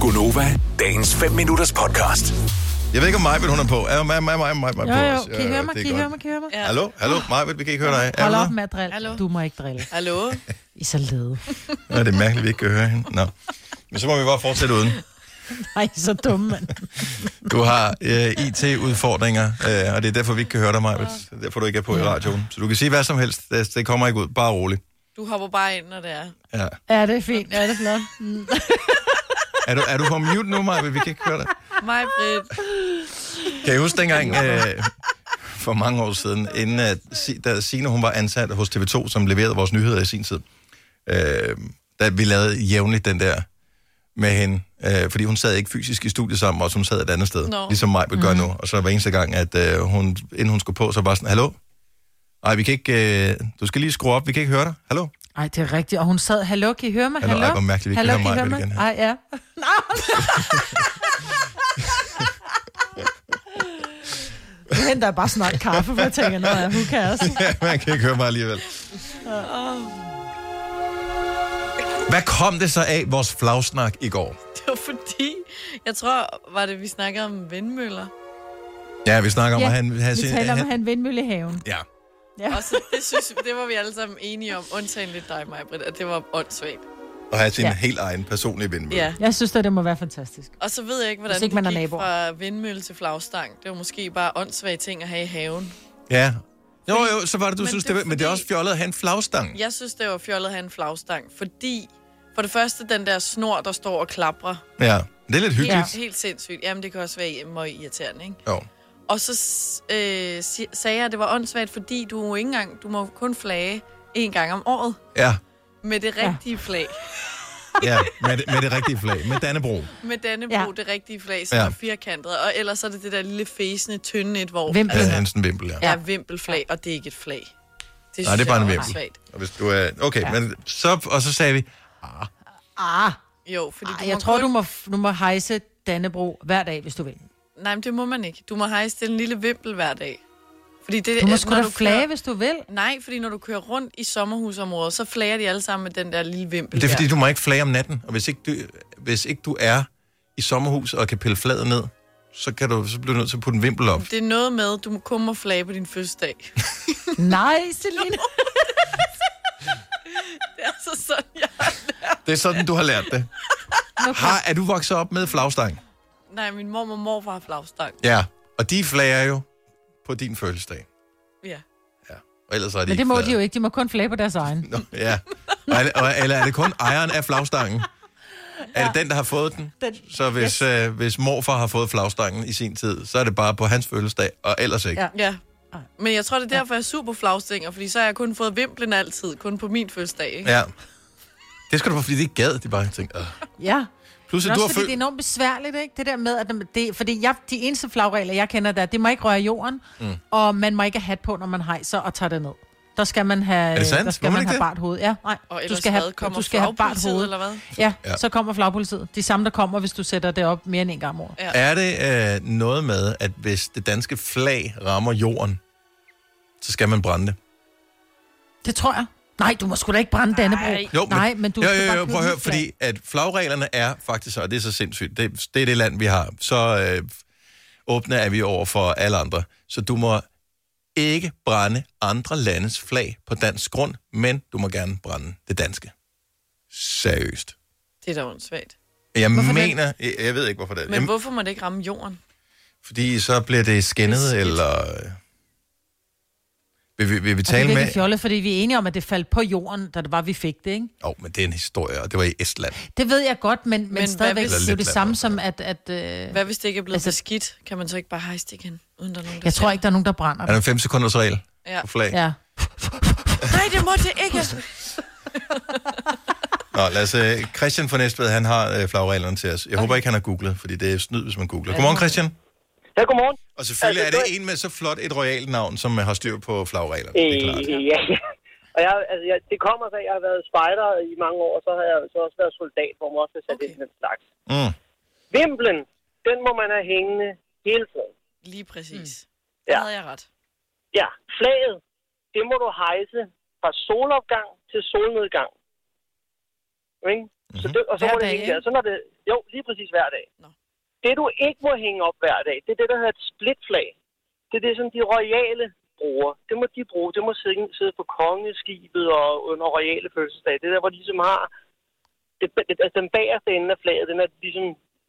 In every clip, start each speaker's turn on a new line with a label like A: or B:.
A: Gunova, dagens 5 minutters podcast.
B: Jeg ved ikke, om Majbet hun er på. Er mig, mig, mig, mig, mig
C: Jo,
B: på?
C: jo.
B: også?
C: Kan I høre mig?
B: det er
C: Kan I
B: godt.
C: høre mig? Kan I høre mig?
D: Ja.
B: Hallo? Hallo? Majbet, vi kan ikke høre dig. Er
C: Hold
B: du
C: op
B: der?
C: med at drille.
D: Hallo?
C: Du må ikke drille.
D: Hallo?
C: I er så lede.
B: Nå, det er mærkeligt, vi ikke kan høre hende. Nå. Men så må vi bare fortsætte uden.
C: Nej, I er så dumme, mand.
B: Du har øh, IT-udfordringer, øh, og det er derfor, vi ikke kan høre dig, Majbet. Det er Derfor du ikke er på i radioen. Så du kan sige hvad som helst. Det, det kommer ikke ud. Bare roligt.
D: Du hopper bare ind, når det er.
B: Ja.
C: Ja, det er fint. Ja, det er flot. Mm.
B: Er, du, er du på mute nu, Majbet? Vi kan ikke høre dig.
D: Mig, Britt.
B: Kan I huske dengang øh, for mange år siden, inden at, Si- da Signe hun var ansat hos TV2, som leverede vores nyheder i sin tid, øh, da vi lavede jævnligt den der med hende, øh, fordi hun sad ikke fysisk i studiet sammen med os, hun sad et andet sted,
D: Nå.
B: ligesom mig vil gøre nu. Og så hver eneste gang, at øh, hun, inden hun skulle på, så var sådan, hallo? Nej, vi kan ikke, øh, du skal lige skrue op, vi kan ikke høre dig. Hallo?
C: Ej, det er rigtigt. Og hun sad, hallo, kan I høre mig?
B: Hallo,
C: Hallo,
B: ej, hvor mærkeligt, vi ikke
C: hallo,
B: kan høre mig igen her.
C: Ej, ja. Nu henter jeg bare snart kaffe, for jeg tænker, nå ja, hun kan også.
B: Ja, man kan ikke høre mig alligevel. Hvad kom det så af vores flagsnak i går?
D: Det var fordi, jeg tror, var det, vi snakkede om vindmøller.
B: Ja, vi snakker om, at han...
C: vi taler om at have en vindmølle i haven.
B: Ja.
C: Ja.
D: Og så, det, synes, vi- det var vi alle sammen enige om, undtagen lidt dig, mig, Britt, at det var åndssvagt.
B: Og have sin ja.
C: Ja.
B: helt egen personlige vindmølle.
D: Ja.
C: Jeg synes, at det må være fantastisk.
D: Og så ved jeg ikke,
C: Hvis
D: hvordan
C: ikke man
D: det
C: er
D: gik
C: naboer.
D: fra vindmølle til flagstang. Det var måske bare åndssvage ting at have i haven.
B: ja. Jo, jo, så var det, du men
D: Men
B: synes, det,
D: det er
B: var, men det er
D: fordi-
B: også fjollet at have en flagstang. Ja.
D: Jeg synes, det var fjollet at have en flagstang, fordi for det første den der snor, der står og klapper.
B: ja. Det er lidt hyggeligt.
D: Helt, helt sindssygt. Jamen, det kan også være meget irriterende, ikke?
B: Ja. Jo.
D: Og så øh, si- sagde jeg, at det var åndssvagt, fordi du jo ikke engang, du må kun flage en gang om året
B: Ja.
D: med det rigtige flag.
B: Ja, med det, med det rigtige flag. Med Dannebro.
D: Med Dannebro,
C: Ja.
D: ja. det rigtige flag, som
B: Ja.
D: ja. er firkantet. Og ellers er det det der lille fæsende, tynde et, hvor
C: Vimpel.
B: Ja,
C: Altså-
B: Hansen Vimpel, ja.
D: er vimpelflag, og det er ikke et flag. Det
B: Nej, det
D: synes
B: er bare
D: jeg
B: en vimpel.
D: åndssvagt.
B: Og hvis du er... Okay, ja. men så, og så sagde vi,
C: Ah,
D: Jo, fordi
C: ej,
D: du
C: jeg
D: må
C: tror,
D: kun...
C: du må, du må hejse Dannebro hver dag, hvis du vil.
D: Nej, men det må man ikke. Du må hejse den lille vimpel hver dag. Fordi det,
C: øh, Du må
D: at
C: sgu
D: når
C: da
D: du
C: flage,
D: Kører...
C: hvis du vil.
D: Nej, fordi når du kører rundt i sommerhusområder, så flager de alle sammen med den der lille vimpel
B: det er fordi,
D: der.
B: du må ikke flage om natten. Og hvis ikke du, hvis ikke du er i sommerhus og kan pille flaget ned, så, kan du, så bliver du nødt til at putte en vimpel op.
D: Det er noget med, du må kun må flage på din fødselsdag.
C: Nej, Selina.
D: det er altså sådan, jeg...
B: Det er sådan, du har lært det.
C: Okay.
B: Har, er du vokset op med flagstang?
D: Nej, min mor og morfar har flagstang.
B: Ja. Og de flager jo på din fødselsdag.
D: Ja.
B: Ja. Og ellers er de
C: Men det må
B: flade.
C: de jo ikke. De må kun flage på deres egen.
B: Nå, ja. Og er det, og, eller er det kun ejeren af flagstangen? Er det den, der har fået den?
C: Den-
B: Så hvis, yes. øh, hvis morfar har fået flagstangen i sin tid, så er det bare på hans fødselsdag, og ellers ikke.
C: Ja.
D: Ja. Men jeg tror, det er derfor, jeg er super flagstænger, fordi så har jeg kun fået vimplen altid, kun på min fødselsdag, ikke?
B: ja. Det skal du bare, fordi det ikke gad, det bare tænker.
C: Ja.
B: Plus,
C: Men
B: at du har
C: også fordi det er
B: født...
C: enormt besværligt, ikke? Det der med, at det, fordi jeg, de eneste flagregler, jeg kender, der, det må ikke røre jorden, mm. og man må ikke have hat på, når man hejser og tager det ned. Der skal man have,
B: det sandt?
C: der
B: Må
C: skal
B: man
C: man
B: ikke
C: have
B: det?
C: bart hoved. Ja, nej.
D: Og
C: du
D: ellers
C: skal
D: hvad?
C: have,
D: Kommer
C: du skal have bart
D: flagpolitiet,
C: hoved.
D: eller hvad?
C: Ja,
B: Ja.
C: ja, så kommer flagpolitiet. De samme, der kommer, hvis du sætter det op mere end en gang om året.
D: Ja.
B: Er det øh, noget med, at hvis det danske flag rammer jorden, så skal man brænde det?
C: Det tror jeg. Nej, du må sgu da ikke brænde Dannebro.
D: Nej.
B: Jo, men,
C: Nej, men du
B: jo,
C: skal
B: jo, jo, jo,
C: bare købe
B: prøv at
C: nyt
B: høre,
C: flag.
B: fordi at flagreglerne er faktisk, og det er så sindssygt, det, det er det land, vi har, så øh, åbne er vi over for alle andre. Så du må ikke brænde andre landes flag på dansk grund, men du må gerne brænde det danske. Seriøst.
D: Det er da åndssvagt.
B: Jeg
C: Hvorfor
B: hvorfor
C: det?
B: mener, jeg, jeg ved ikke, hvorfor det er.
D: Men
B: Jamen,
D: hvorfor må det ikke ramme jorden?
B: Fordi så bliver det skændet,
D: Skidt.
B: eller... Vil, vi- vil vi
C: Og det er
B: tale
C: virkelig
B: med...
C: fjollet, fordi vi er enige om, at det faldt på jorden, da det var, vi fik det, ikke?
B: Jo, oh, men det er en historie, og det var i Estland.
C: Det ved jeg godt, men, men,
D: hvad
C: men stadigvæk
D: hvis-
C: det er jo det
B: Eller
C: samme
B: lidt
C: som, at... at øh,
D: Hvad hvis det ikke er blevet
C: Altså-
D: altså, beskidt? Kan man så ikke bare hejse det igen, uden der er nogen, der
C: jeg tror
D: ser
C: ikke, der er nogen, der brænder
E: Altså,
B: Er der
C: det.
B: en 5 sekunders regel
D: det? Ja.
B: på flag?
C: Ja.
D: Nej, det må det ikke!
B: Nå, lad os, øh, Christian fra Næstved, han har øh, flagreglerne til os. Jeg okay. håber ikke, han har googlet, fordi det er snyd, hvis man googler. Godmorgen, Christian.
E: Ja, godmorgen.
B: Og selvfølgelig er
E: Altså,
B: det en med så flot et royalt navn, som øh, har styr på flagreglerne.
E: Øh,
B: Det er klart.
E: ja, ja. Og jeg, altså, jeg, det kommer af, at jeg har været spejder i mange år, og så har jeg så også været soldat, hvor man også har sat
D: Okay.
E: okay. ind i den slags.
B: Mm.
E: Vimplen, den må man have hængende hele tiden.
D: Lige præcis.
E: Ja.
D: Der havde jeg ret.
E: Ja, flaget, det må du hejse fra solopgang til solnedgang. Ikke? Så det, og så
D: Hver
E: må det
D: dag,
E: hænge
D: ikke?
E: der. Så når det, jo, lige præcis hver dag.
D: Nå.
E: Det, du ikke må hænge op hver dag, det er det, der hedder et splitflag. Det er det, som de royale bruger. Det må de bruge. Det må sidde, sidde på kongeskibet og under royale fødselsdag. Det er der, hvor de ligesom har... Det, det, altså, den bagerste ende af flaget, den er ligesom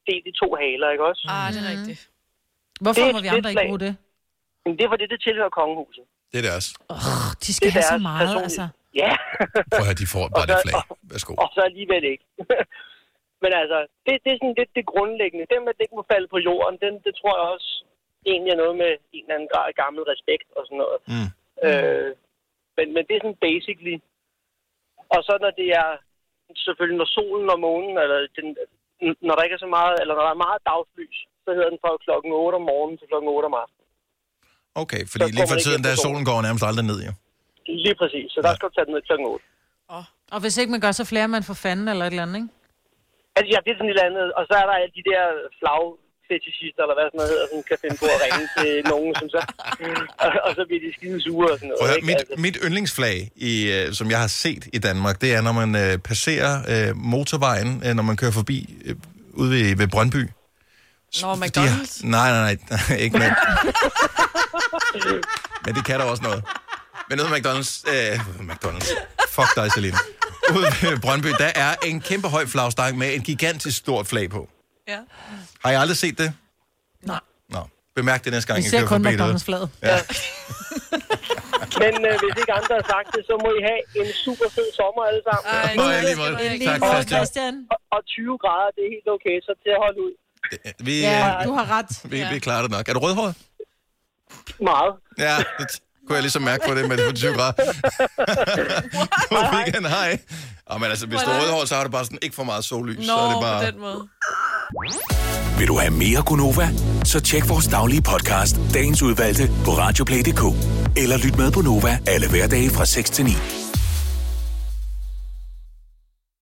E: delt i to haler, ikke også?
D: Ah,
B: Mm.
D: det er rigtigt.
E: Det er
C: Hvorfor må
E: et
C: vi andre ikke
E: fedtlag.
C: bruge det?
E: Men det er fordi, det tilhører kongehuset.
B: Det er deres.
C: Oh, de
E: Det
C: skal
E: er
C: have så
E: deres
C: meget,
E: personlige-
C: altså.
E: Ja.
B: Prøv at høre, de får bare det
E: så-
B: flag. Værsgo.
E: og så alligevel ikke. Men altså, det, det er sådan lidt det grundlæggende. Den med, at det ikke må falde på jorden, den, det tror jeg også egentlig er noget med en eller anden grad af gammel respekt og sådan noget.
B: Mm.
E: Øh, men, men det er sådan basically. Og så når det er selvfølgelig når solen og månen, eller den, n- når der ikke er så meget, eller når der er meget dagslys, så hedder den fra klokken 8 om morgenen til klokken 8 om aftenen.
B: Okay, fordi
E: Så
B: lige for
E: kommer det
B: tiden,
E: ikke
B: der
E: efter
B: solen går nærmest aldrig ned, jo.
E: Lige præcis. Så der
B: Ja.
E: skal du tage den ned klokken 8.
C: Og hvis ikke man gør, så flere man for fanden eller et eller andet, ikke?
E: Altså, ja, det er sådan et eller andet. Og så er der alle de der flag fetishister, eller hvad sådan noget hedder, som kan finde på at ringe til nogen, som så, og, og så bliver de skide sure og sådan noget.
B: Prøv at høre,
E: ikke? Altså,
B: mit, mit yndlingsflag, i, øh, som jeg har set i Danmark, det er, når man øh, passerer øh, motorvejen, øh, når man kører forbi øh, ude ved, ved Brøndby.
D: Nå,
B: De har-
D: McDonald's.
B: nej, nej, nej, ikke men. men det kan der også noget. Men nede ved McDonald's, øh, McDonald's, fuck dig, Celine. Ude ved Brøndby, der er en kæmpe høj flagstang med en gigantisk stort flag på.
D: Ja.
B: Har I aldrig set det?
C: Nej.
B: Nå, bemærk det næste gang,
C: Vi
B: I
C: ser
B: kører
C: kun
B: forbi derude.
C: McDonald's-flaget.
E: men øh, hvis ikke andre har sagt det, så må I have en super fed sommer alle sammen.
D: Ej,
B: Nå, ja, lige
D: skal du
B: måde.
D: have.
B: Tak,
C: Åh,
B: Christian.
C: Christian.
E: Og, og 20 grader, det er helt okay, så til at holde ud
B: Vi,
C: Ja,
B: øh,
C: du har ret.
B: vi, vi klarer det nok. Er du rødhåret?
E: meget.
B: Ja, det t- kunne jeg ligesom mærke på det, men det var 20 grader. God weekend, hej. Og men altså, hvis du er rødhåret, så har du bare sådan ikke for meget sollys. så
D: Nå,
B: er det
D: på
B: bare...
D: den måde.
A: Vil du have mere Gunova? Så tjek vores daglige podcast, dagens udvalgte, på radioplay.dk. Eller lyt med på Nova alle hverdage fra 6 til 9.